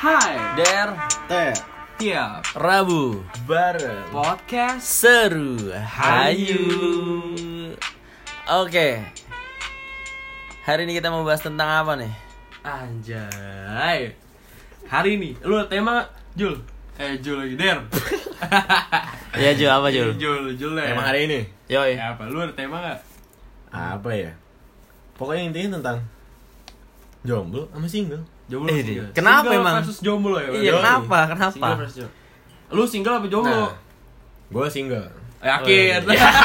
Hai, Der Teh, tiap Rabu bareng. podcast seru hayu. Oke. Hari ini kita mau bahas tentang apa nih? Anjay Hari ini, lu tema Jul Eh Jul lagi, Der Ya Jul apa Jul? Jul, Jul ya Emang hari ini? Yoi. Ya apa, lu ada tema gak? Apa ya? Pokoknya intinya tentang jomblo sama single. Jomblo Eh, apa Di, single? kenapa Single emang? versus jomblo ya? Iya Jul? kenapa? Kenapa? Single versus jomblo. Lu single apa jomblo? Eh, Nah. Gue single. Yakin Oh,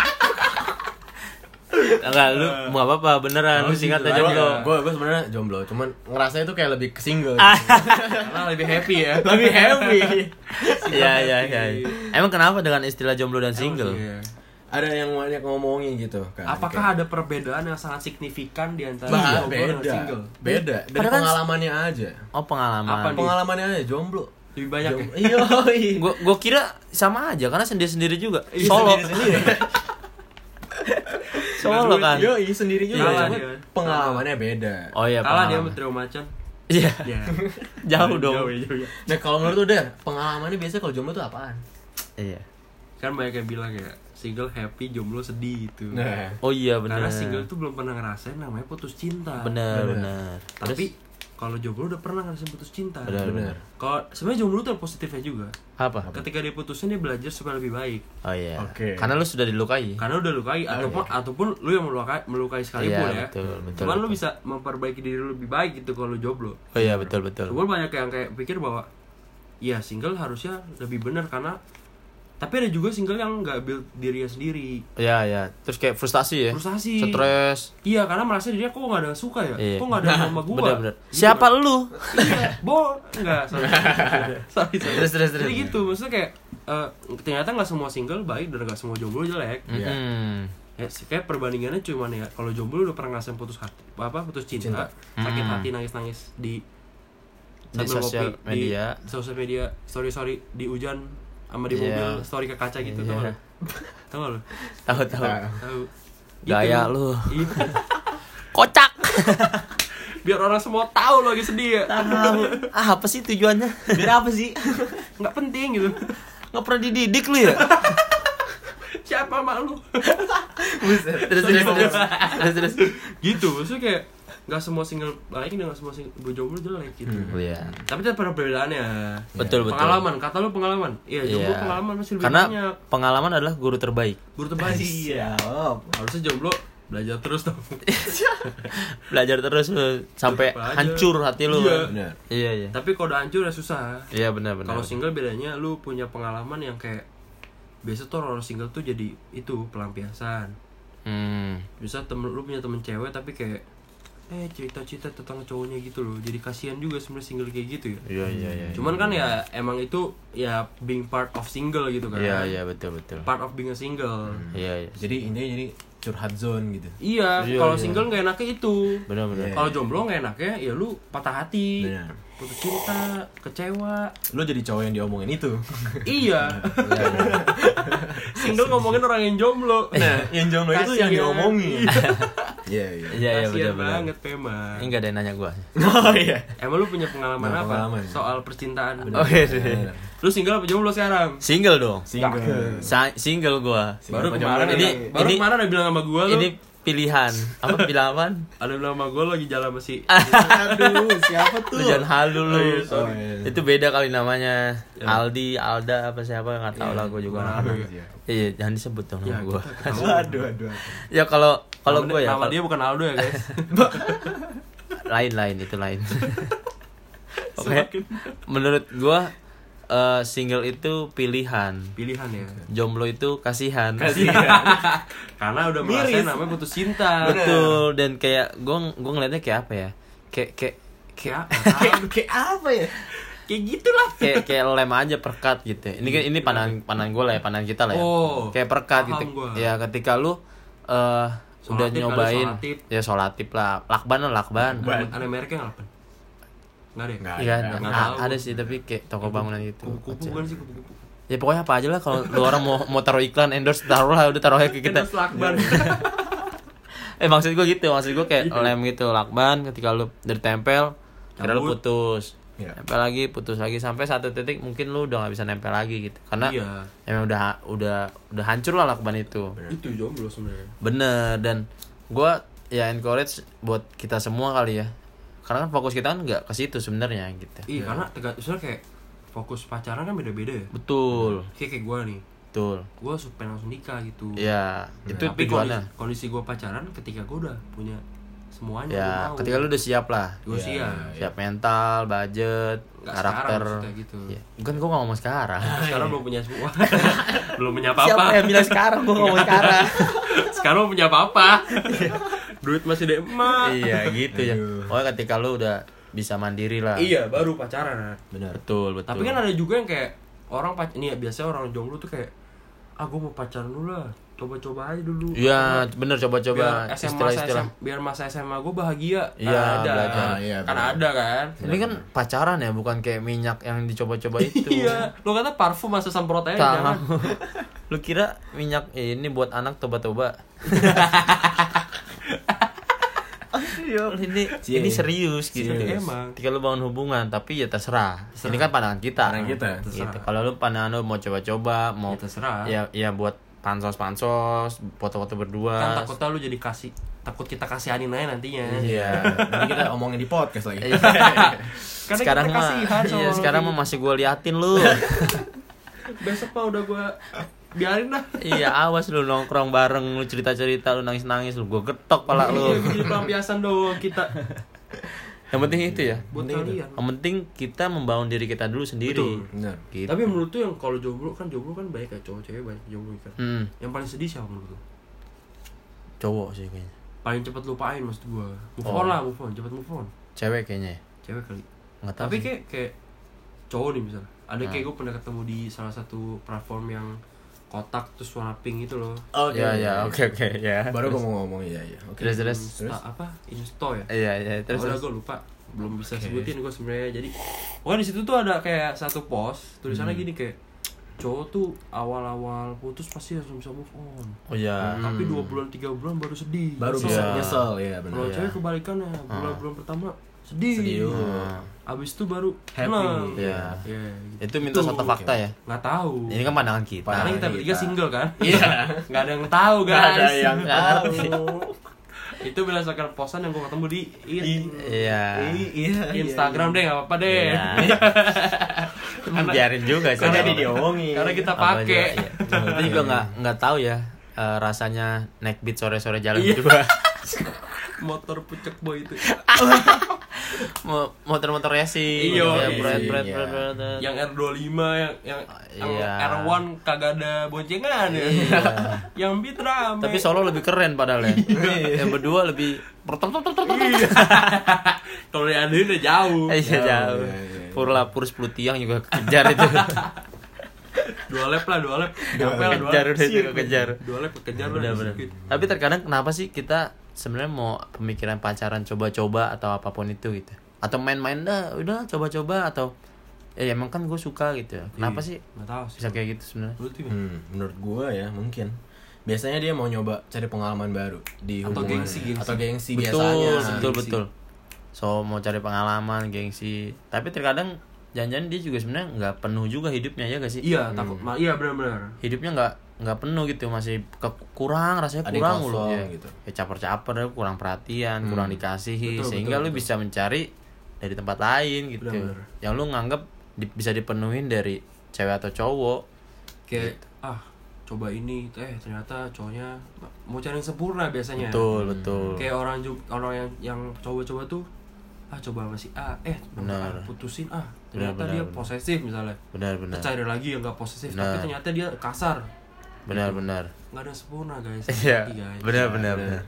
Enggak lu mau apa apa beneran Eh. Oh, lu singkat single. aja Jomblo. dulu. Gue gue Nah, sebenarnya jomblo, cuman ngerasa itu kayak lebih ke single. Karena lebih happy ya lebih happy. Iya iya iya. Emang kenapa dengan istilah jomblo dan single? Iya. Ada yang banyak ngomongin gitu kan. Apakah ada perbedaan yang sangat signifikan di antara Iya, Bah, jomblo dan beda. single? Beda. Dari Padahal kan- pengalamannya aja. Oh Apa pengalaman. nih? Pengalamannya aja jomblo. Lebih banyak ya? Jom- Iya. Gua gua kira sama aja karena sendiri-sendiri juga. Iya, Solo. sendiri-sendiri. Solo kan. Yo, sendiri juga. Iya, cuman iya. Pengalamannya beda. Oh iya. Kalah dia sama pengalaman. Trio Macan. Iya. Iya. Jauh dong. Jauh, jauh, jauh. Nah, kalau menurut udah pengalamannya biasanya kalau jomblo tuh apaan? Iya. Kan banyak yang bilang ya, single happy, jomblo sedih gitu. Nah, Oh iya benar. Karena single tuh belum pernah ngerasain namanya putus cinta. Benar Benar. benar. Tapi kalau jomblo udah pernah ngerasain putus cinta. Benar, benar. Kalau sebenarnya jomblo tuh ada positifnya juga. apa? Ketika dia putusin dia belajar supaya lebih baik. Oh iya. Oke. Karena lu sudah dilukai. Karena udah lukai ataupun ataupun lu yang melukai melukai sekalipun Oh, ya. Iya, betul, betul, Cuman lu betul. bisa memperbaiki diri lu lebih baik gitu kalau lu jomblo. Oh iya betul betul. Gue banyak yang kayak pikir bahwa ya single harusnya lebih benar karena tapi ada juga single yang nggak build dirinya sendiri. Iya iya. Terus kayak frustasi ya. Frustasi. Stres. Iya, karena merasa dirinya kok nggak ada yang suka ya? Iya. Kok nggak ada yang sama gua? Gitu kan. Benar benar. Siapa lu? Iya, bo, enggak, sorry. sorry, sorry. Terus, terus, terus. Jadi gitu, maksudnya kayak eh, ternyata nggak semua single baik dan nggak semua jomblo jelek. Hmm. Mm-mm. Ya, sih, kayak perbandingannya cuman ya kalau jomblo udah pernah ngerasain putus hati, apa putus cinta, Cinta. sakit Hmm. hati nangis-nangis di Di sambil sosial ngopi, di media. sosial media, sorry sorry di hujan sama di Iya. mobil, story ke kaca gitu Iya. tuh. Tahu lu? Tahu tahu. Nah, Tahu. Gaya Gitu. lu. Iya. Kocak. Biar orang semua tahu lu lagi sedih ya. Tahu. Ah, apa sih tujuannya? Biar apa sih? Nggak penting gitu. Nggak pernah dididik lu ya? Siapa malu? terus terus terus. Terus terus. gitu maksudnya kayak nggak semua single baik dan nggak semua single jomblo jelek gitu Oh, Iya. tapi tetap ada perbedaannya Betul betul. pengalaman kata lu pengalaman iya jomblo Iya. pengalaman masih lebih Karena banyak pengalaman adalah guru terbaik. guru terbaik Siap. harusnya jomblo belajar terus dong Belajar terus lu sampai Belajar. hancur hati lu. Iya. kan? Benar. Iya iya. tapi kalau udah hancur ya susah Iya benar benar. kalau single bedanya lu punya pengalaman yang kayak biasa tuh orang single tuh jadi itu pelampiasan Hmm. bisa temen lu punya temen cewek tapi kayak eh cerita-cerita tentang cowoknya gitu loh jadi kasihan juga sebenarnya single kayak gitu ya Iya iya iya. Cuman kan ya emang itu ya being part of single gitu kan. Iya iya betul betul. Part of being a single. Iya iya. Jadi intinya jadi curhat zone gitu. Iya, Iya, kalau iya. single nggak enaknya itu. Benar benar. Iya. Kalau jomblo nggak enaknya ya lu patah hati, Benar. putus cinta, kecewa. Lo jadi cowok yang diomongin itu. iya. single ngomongin orang yang jomblo. Nah, yang jomblo itu Kasian. yang diomongin. Iya Iya iya. iya benar kasihan benar. banget memang. Ini enggak ada yang nanya gua. Oh iya. Emang lu punya pengalaman apa Nah, pengalaman. soal percintaan? Oke. Benar. Lu single apa jomblo sekarang? Single dong. Single. Sa- single gua. Baru apa kemarin jomblo? ini, Ini- baru ini- kemarin ada bilang sama gua lu. Ini pilihan. Apa pilihan apaan? Ada bilang sama gua lu lagi jalan sama si Ah, Aduh, siapa tuh? Lu jangan halu lu. Oh, iya, sorry. Oh, iya. Itu beda kali namanya. Aldi, Alda apa siapa nggak tahu lah gua juga. Iya, jangan disebut dong Ya, nama gua. Waduh, aduh. Ya kalau Nama kalau gua dia- ya nama kalau- dia bukan Aldo ya guys lain-lain itu lain. Oke. Semakin- Menurut gua eh, single itu pilihan. pilihan ya Jomblo itu kasihan. karena udah merasa namanya putus cinta Betul dan kayak gue gue ngeliatnya kayak apa ya? Kayak kayak kayak Kayak apa ya? kayak gitulah kayak kayak lem aja perkat gitu. Ini ini pandangan pandangan gue lah ya, pandangan kita lah ya. Iya. Oh, kayak perkat paham gitu. gua. Ya ketika lu eh udah Solatif kali, nyobain solatif. ya solatif lah, lakban lah lakban. ada mereknya nggak apa nggak ada ya? Nggak. Iya, Nggak nah, tahu. ada sih tapi kayak toko bangunan gitu. kupu-kupu Kocak. bukan sih kupu-kupu ya pokoknya apa aja lah kalau lu orang mau mau taruh iklan endorse taruh lah udah taruhnya ke kita Kita selakban. eh maksud gue gitu maksud gue kayak Iya. lem gitu lakban ketika lu dari tempel kira lu Cabut. putus Iya. nempel lagi putus lagi sampai satu titik mungkin lu udah nggak bisa nempel lagi gitu karena Iya. emang udah udah udah hancur lah lakban itu Itu jomblo sebenarnya. Bener dan gua ya encourage buat kita semua kali ya. Karena kan fokus kita kan nggak ke situ sebenarnya gitu. Iya, karena tegak misalnya kayak fokus pacaran kan beda-beda ya. Betul, Kayak kayak gue nih, betul. gue pengen langsung nikah gitu. Ya, itu Tapi kondisi, tujuannya. kondisi gue pacaran ketika gue udah punya semuanya Ya, gua mau. ketika lu udah siap lah. gue Iya, siap. Siap mental, budget, Nggak karakter. sekarang maksudnya gitu. Iya. Kan gua nggak ngomong sekarang. Sekarang belum punya semua. belum punya Siapa apa-apa. yang bilang sekarang gua ngomong sekarang? Sekarang belum punya apa-apa. Duit masih ada emak. iya, gitu ya. Aduh. Oh, ketika lu udah bisa mandiri lah. Iya, baru pacaran. benar Betul, betul. Tapi kan ada juga yang kayak orang pac nih biasanya orang jomblo tuh kayak ah gue mau pacaran dulu lah, coba-coba aja dulu. Iya, bener coba-coba biar SMA, masa istilah-istilah. SMA biar masa SMA gue bahagia Iya, Karena belajar. ada Iya, karena benar. ada kan Ini kan pacaran ya, bukan kayak minyak yang dicoba-coba itu. iya lo kata parfum masa semprot aja Eh, Tahu. jangan Lu kira minyak ini buat anak toba-toba? ini Cie. ini serius gitu. Serius. Emang. Ketika lu bangun hubungan, tapi ya terserah. Ini kan pandangan kita. Pandangan kita. Gitu. Kalau lu pandangan lu mau coba-coba, mau Ya, terserah. Ya ya buat pansos-pansos, foto-foto kan berdua. takutnya lu jadi kasih takut kita kasihanin aja nantinya iya nanti kita omongin di podcast lagi Iya. Karena sekarang kita mah kasihan sama iya, orang sekarang lain. mah masih gua liatin lu. besok mah udah gue biarin dah iya, awas lu nongkrong bareng, lu cerita-cerita, lu nangis-nangis, lu gua getok pala Iya, lu. jadi pelampiasan doang kita Yang penting itu ya. buat kalian Yang penting kita membangun diri kita dulu sendiri. Betul. benar Gitu. tapi menurut tuh yang kalau jomblo kan jomblo kan banyak ya cowok cewek banyak jomblo kan Hmm, yang paling sedih siapa menurut lu cowok sih kayaknya. paling cepat lupain maksud gue move Oh. on lah move on cepat move on Cewek kayaknya. ya. cewek kali Nggak tahu. tapi Nah. sih. kayak kayak cowok nih misalnya ada kayak gue pernah ketemu di salah satu platform yang kotak terus warna pink gitu loh oke ya ya, oke oke ya. iya, baru gue mau ngomong iya iya oke Terus terus. Insta apa Insta ya Iya iya terus. udah terus. gue lupa belum bisa Oke. sebutin gue sebenarnya jadi pokoknya di situ tuh ada kayak satu post tulisannya gini kayak cowok tuh awal-awal putus pasti langsung bisa move on Oh iya. Nah, tapi dua bulan tiga bulan baru sedih baru Nyesel. bisa Iya. nyesel ya benar kalau cewek kebalikannya bulan bulan pertama sedih Nah, Serius. abis itu baru Happy. seneng. Iya. Iya, gitu. Itu minta satu fakta ya. nggak tahu Ini kan pandangan kita. Karena kita Nah, bertiga kita. single kan? Iya. Gak ada yang tahu guys. ada yang Nggak tahu ngerti. Itu berdasarkan posan yang gue ketemu di in- Iya. iya di Instagram deh, gak apa-apa deh. Iya. Biarin juga sih. Kan jadi nggak apa-apa. diomongin. Karena kita Apa aja, pakai. iya. Kita juga nggak nggak tahu ya eh, rasanya naik beat sore-sore jalan berdua. motor pucuk boy itu. Mo- motor-motor racing Iya. Ya. Ya, bret, bret, Iya. bret, bret, bret. yang R25 yang yang, yang Iya. R1 kagak ada boncengan ya. yang beat rame. tapi solo lebih keren padahal ya yang berdua lebih pertem tem tem tem tem. kalau diandelin udah jauh. Ya, Eh, iya, jauh iya, iya. purla pur 10 tiang juga kejar itu Dua lap lah, dua lap. Nyampe lah dua kejar lap. udah itu kejar Dua lap kejar lah. benar di benar sirkuit. tapi terkadang kenapa sih kita sebenarnya mau pemikiran pacaran coba-coba atau apapun itu gitu atau main-main dah udah coba-coba atau ya emang kan gue suka gitu kenapa sih Nggak tahu sih. bisa kayak gitu sebenarnya Lu tuh Hmm, menurut gua ya mungkin biasanya dia mau nyoba cari pengalaman baru di Atau hubungan gengsi, gengsi. atau gengsi biasanya betul betul Gengsi. betul so mau cari pengalaman gengsi tapi terkadang jangan-jangan dia juga sebenarnya nggak penuh juga hidupnya ya gak sih Iya, takut. Ma- Iya, benar-benar. hidupnya nggak nggak penuh gitu masih ke- kurang rasanya Ada yang kurang kosong loh ya. gitu. ya caper-caper kurang perhatian kurang Betul, dikasihi sehingga betul, lu bisa mencari dari tempat lain gitu Benar, yang lu nganggap di- bisa dipenuhin dari cewek atau cowok kayak Iya. ah coba ini eh ternyata cowoknya mau cari yang sempurna biasanya betul betul Iya. kayak orang juga orang yang yang coba-coba tuh ah coba sama si A eh Benar. benar. putusin ah ternyata benar, dia benar. Nah. posesif misalnya benar-benar Terus cari lagi yang gak posesif tapi Benar. ternyata dia kasar benar-benar nggak ada yang sempurna guys Iya, Hati, guys. benar benar benar.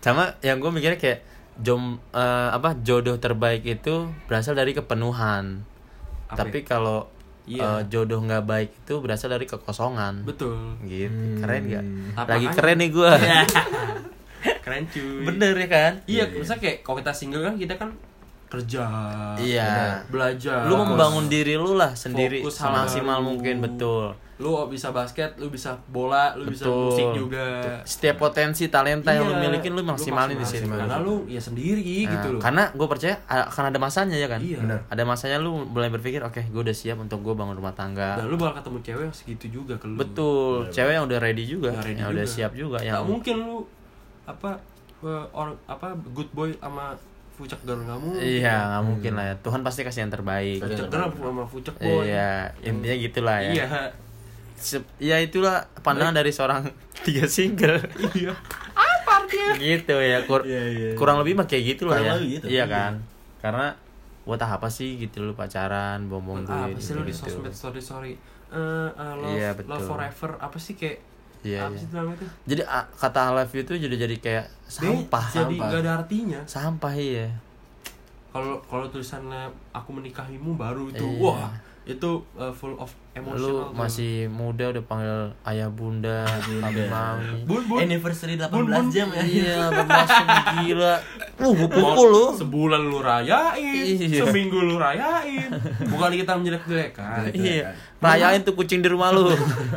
Sama yang gue mikirnya kayak jom eh, apa jodoh terbaik itu berasal dari kepenuhan. Apa ya? Iya. Tapi kalau eh, jodoh nggak baik itu berasal dari kekosongan. betul Gitu. Hmm. Keren gak? Apa Lagi aja? keren nih gue. keren cuy bener ya kan? iya misalnya kayak kalau kita single kan kita kan kerja Iya. belajar Lu membangun diri lu lah sendiri Fokus hal semaksimal baru. mungkin betul. lu bisa basket lu bisa bola lu bisa Betul. musik juga Setiap potensi talenta yang lu Eh. Iya, milikin lu maksimalin di sini. maksimalin. karena lu ya sendiri Nah, gitu loh Karena gue percaya a- akan ada masanya ya kan. Iya. Bener. Ada masanya lu mulai berpikir, oke, gue udah siap untuk gue bangun rumah tangga. dan lu bakal ketemu cewek yang segitu juga ke lu Betul, Ya. cewek yang udah ready juga, Yang ready yang udah juga. siap juga, yang Nggak mungkin lu apa eh, orang apa good boy sama fucek girl nggak mungkin Iya, nggak mungkin lah ya. Tuhan pasti kasih yang terbaik. Kasih fucek girl sama fucek boy Iya, intinya gitulah ya. iya Se- ya itulah pandangan dari seorang tiga single. iya gitu ya, kur- Iya, iya, iya. kurang lebih mah kayak gitu lah Kurang ya. lebih gitu. Iya Iya. kan? Karena buat apa sih gitu lu pacaran, bom-bom apa duit sih lu di gitu. sosmed sorry sorry Eh, eh, love, Iya, betul. love forever apa sih kayak Iya, apa iya. sih namanya tuh Jadi a- kata I love you itu jadi jadi kayak Dia sampah, jadi sampah. gak ada artinya Sampah iya. kalau kalau tulisannya aku menikahimu baru itu Iya. wah itu uh, full of emotional Lu tuh. masih muda udah panggil ayah bunda, papi Bunda. mami. bun bun Anniversary 18 Bun, bun. Iya. jam ya. Iya, langsung gila. Uh, gue pukul lu. sebulan lu rayain Iya. seminggu lu rayain bukan kita menjelek-jelekan Iya. Rayain tuh kucing di rumah lu.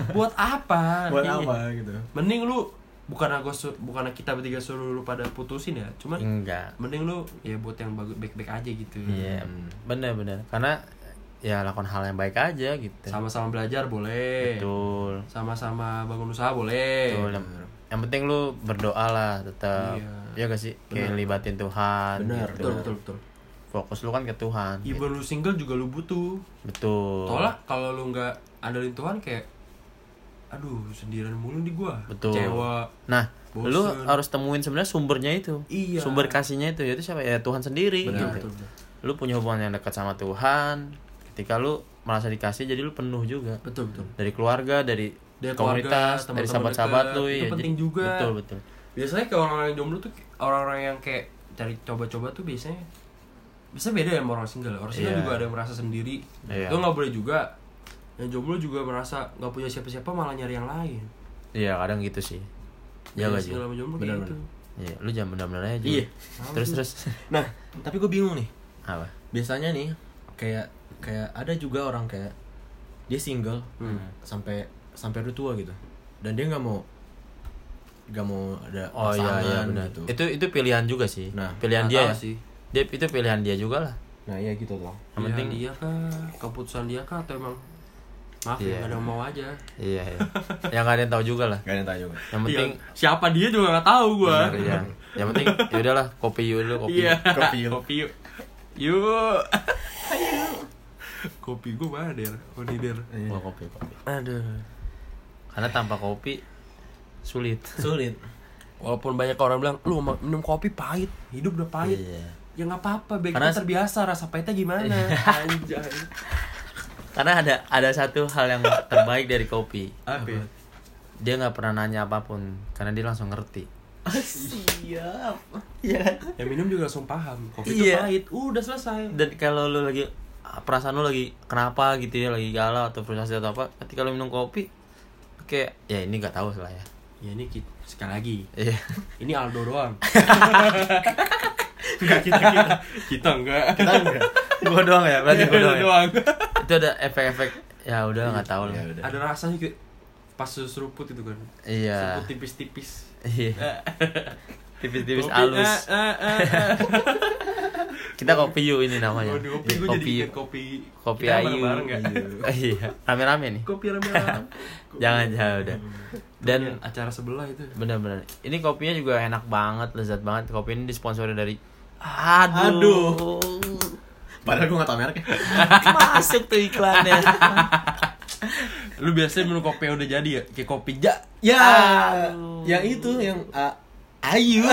buat apa Buat apa gitu. mending lu bukan aku su- bukan kita bertiga suruh lu pada putusin ya cuman Enggak. mending lu ya buat yang bagus baik-baik aja gitu Iya, Hmm. bener-bener. Karena ya lakukan hal yang baik aja gitu. sama-sama belajar boleh Betul. sama-sama bangun usaha boleh Betul. Yang, yang penting lu berdoa lah tetap. Iya. Iya gak sih? Kayak libatin Tuhan Bener, gitu. betul Iya, betul betul Fokus lu kan ke Tuhan. gitu. Even lu single juga lu butuh Betul. Soalnya kalau lu nggak andelin Tuhan kayak aduh sendirian mulu nih gua. Betul. Kecewa. Nah, Bosen. lu harus temuin sebenarnya sumbernya itu. Iya. Sumber kasihnya itu yaitu siapa? Ya Tuhan sendiri Benar, betul, gitu. betul. Lu punya hubungan yang dekat sama Tuhan. Ketika lu merasa dikasih jadi lu penuh juga. Betul betul. Dari keluarga, dari Dari komunitas, keluarga, dari teman-teman sahabat-sahabat dekat, lu itu ya, penting juga. Betul, betul. Biasanya kayak orang-orang yang jomblo tuh orang-orang yang kayak cari coba-coba tuh biasanya bisa beda ya sama orang single. Orang single Iya. juga ada yang merasa sendiri. Iya. Itu nggak boleh juga. Yang jomblo juga merasa nggak punya siapa-siapa malah nyari yang lain. Iya, kadang gitu sih. Ya gak sih? Single sama jomblo kayak Benar, gitu. Iya, lu jangan benar-benar aja. Iya. Terus terus Nah, tapi gue bingung nih. apa? Biasanya nih kayak kayak ada juga orang kayak dia single Hmm. sampai sampai udah tua gitu. Dan dia nggak mau nggak mau ada Oh iya iya pasangan benar. gitu. Itu itu pilihan juga sih. Nah, pilihan nggak dia tahu ya. sih. Dia itu pilihan dia juga lah. Nah, iya gitu loh. Yang Pilihan penting dia kah, keputusan dia kah atau emang maaf Iya. ya, nggak ada yang mau aja. Iya, iya. yang gak ada yang tahu juga lah. Gak ada yang tanya juga. Yang Iya, penting siapa dia juga nggak tahu gua. Benar, iya. Yang penting ya udahlah kopi yuk dulu kopi. Iya. Kopi yuk. Kopi yuk. Yuk. Kopi gue mana der? Oh di der. Iya. Gua kopi kopi. Aduh, Karena tanpa kopi sulit. sulit. Walaupun banyak orang bilang lu ma- minum kopi pahit, hidup udah pahit. Iya. Ya nggak apa-apa, baik Karena- Iya. kita terbiasa rasa pahitnya gimana. Anjay. Karena ada ada satu hal yang terbaik dari kopi. Apa? ya? Dia nggak pernah nanya apapun karena dia langsung ngerti. Siap. Yang Ya minum juga langsung paham. Kopi Iya. itu pahit. udah selesai. dan kalau lu lagi perasaan lu lagi kenapa gitu ya lagi galau atau frustasi atau apa ketika lu minum kopi kayak ya ini nggak tahu lah ya Ya ini kita, sekali lagi. iya Ini Aldo doang. Enggak kita kita kita enggak. Iya, kita gua doang ya berarti gua doang, ya? doang. Iya. itu ada efek-efek ya udah nggak tahu lah Ya udah. Ada rasanya kayak pas seruput itu kan. iya Seruput tipis-tipis. iya tipis-tipis Kopi, halus eh, eh, eh, eh. kita kopi yuk ini namanya Iya, Waduh, kopi gue jadi kopi ingat kopi. kopi Kita ayu bareng-bareng nggak? iya rame-rame nih Kopi remela. jangan jangan udah Dan dan acara sebelah itu. Bener-bener. Ini kopinya juga enak banget, lezat banget. Kopi ini disponsori dari Aduh. Padahal gue gak tau mereknya. Masuk tuh iklannya. Lu biasanya minum kopi yang udah jadi ya? Kayak kopi ja. Ya, Aduh. yang itu yang uh, Ayu.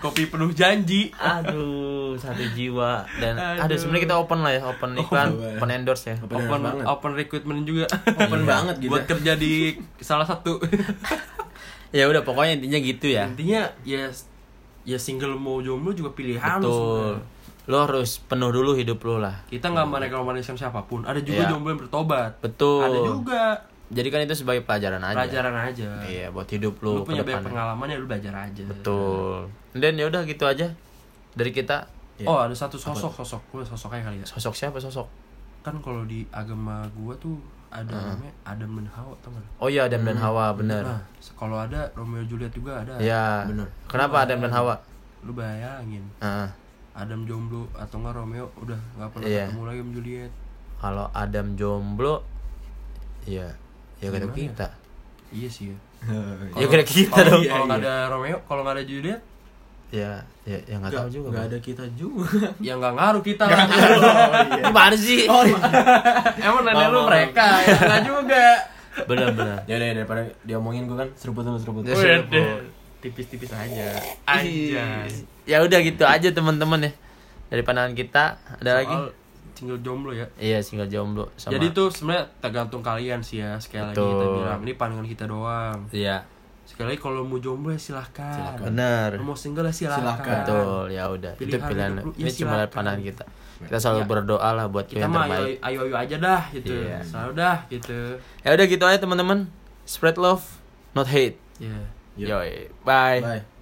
Kopi penuh janji. Aduh, satu jiwa dan aduh, Aduh. sebenarnya kita open lah ya, open iklan, boleh. open endorse ya. Open Open, banget. open recruitment juga. Iya. Open banget gitu. Buat kerja di salah satu. Ya udah pokoknya intinya gitu ya. Intinya ya ya single mau jomblo juga pilihan lu Betul. sebenarnya. Lo harus penuh dulu hidup lo lah. Kita nggak merekomendasikan siapapun. Ada juga Iya. jomblo yang bertobat. Betul. Ada juga Jadikan kan itu sebagai pelajaran aja. pelajaran aja. Iya, buat hidup Lu lo ke punya banyak depannya. pengalaman ya lu belajar aja. Betul. Dan ya udah gitu aja dari kita. Oh ada satu sosok sosok gue sosoknya kali ya. Sosok siapa sosok? Kan kalau di agama gua tuh ada namanya Adam dan Hawa tau gak? oh iya Adam dan Hawa bener Nah, kalau ada Romeo Juliet juga ada. ya Bener. kenapa Adam dan iya. Hawa Ah, Lu bayangin Heeh. Adam jomblo atau enggak Romeo udah nggak pernah Iya. ketemu lagi sama Juliet. kalau Adam jomblo ya ya Gimana kata ya? Oh, kita Iya sih ya. ya kira kita Kalau kalau dong Iya, nggak ada Romeo, kalau nggak ada Juliet, ya ya ya nggak tahu juga Gak Bang. ada kita juga. ya nggak ngaruh kita. iya. gimana sih Oh, Emang nanya lu Mau, mau, mereka, ya nggak juga. bener bener ya udah daripada diomongin gue kan seruput dulu seruput. Ya, seruput. Tipis-tipis aja. Iya. Aja. ya udah gitu aja teman-teman ya dari pandangan kita ada lagi Soal single jomblo ya. iya single jomblo sama Jadi itu sebenarnya tergantung kalian sih ya. Sekali lagi kita Betul. bilang ini pandangan kita doang. iya Sekali lagi kalau mau jomblo ya silahkan. bener Lu mau single ya silahkan. Silahkan. betul ya udah itu Pilihan pilihan hidup lu, ya ini cuma silakan. pandangan kita kita selalu Ya. berdoa lah buat Kita yang mah ayo, terbaik ayo ayo aja dah gitu. Iya. Selalu dah gitu. ya udah gitu aja teman-teman spread love not hate Iya. Yuk. yoi bye Bye.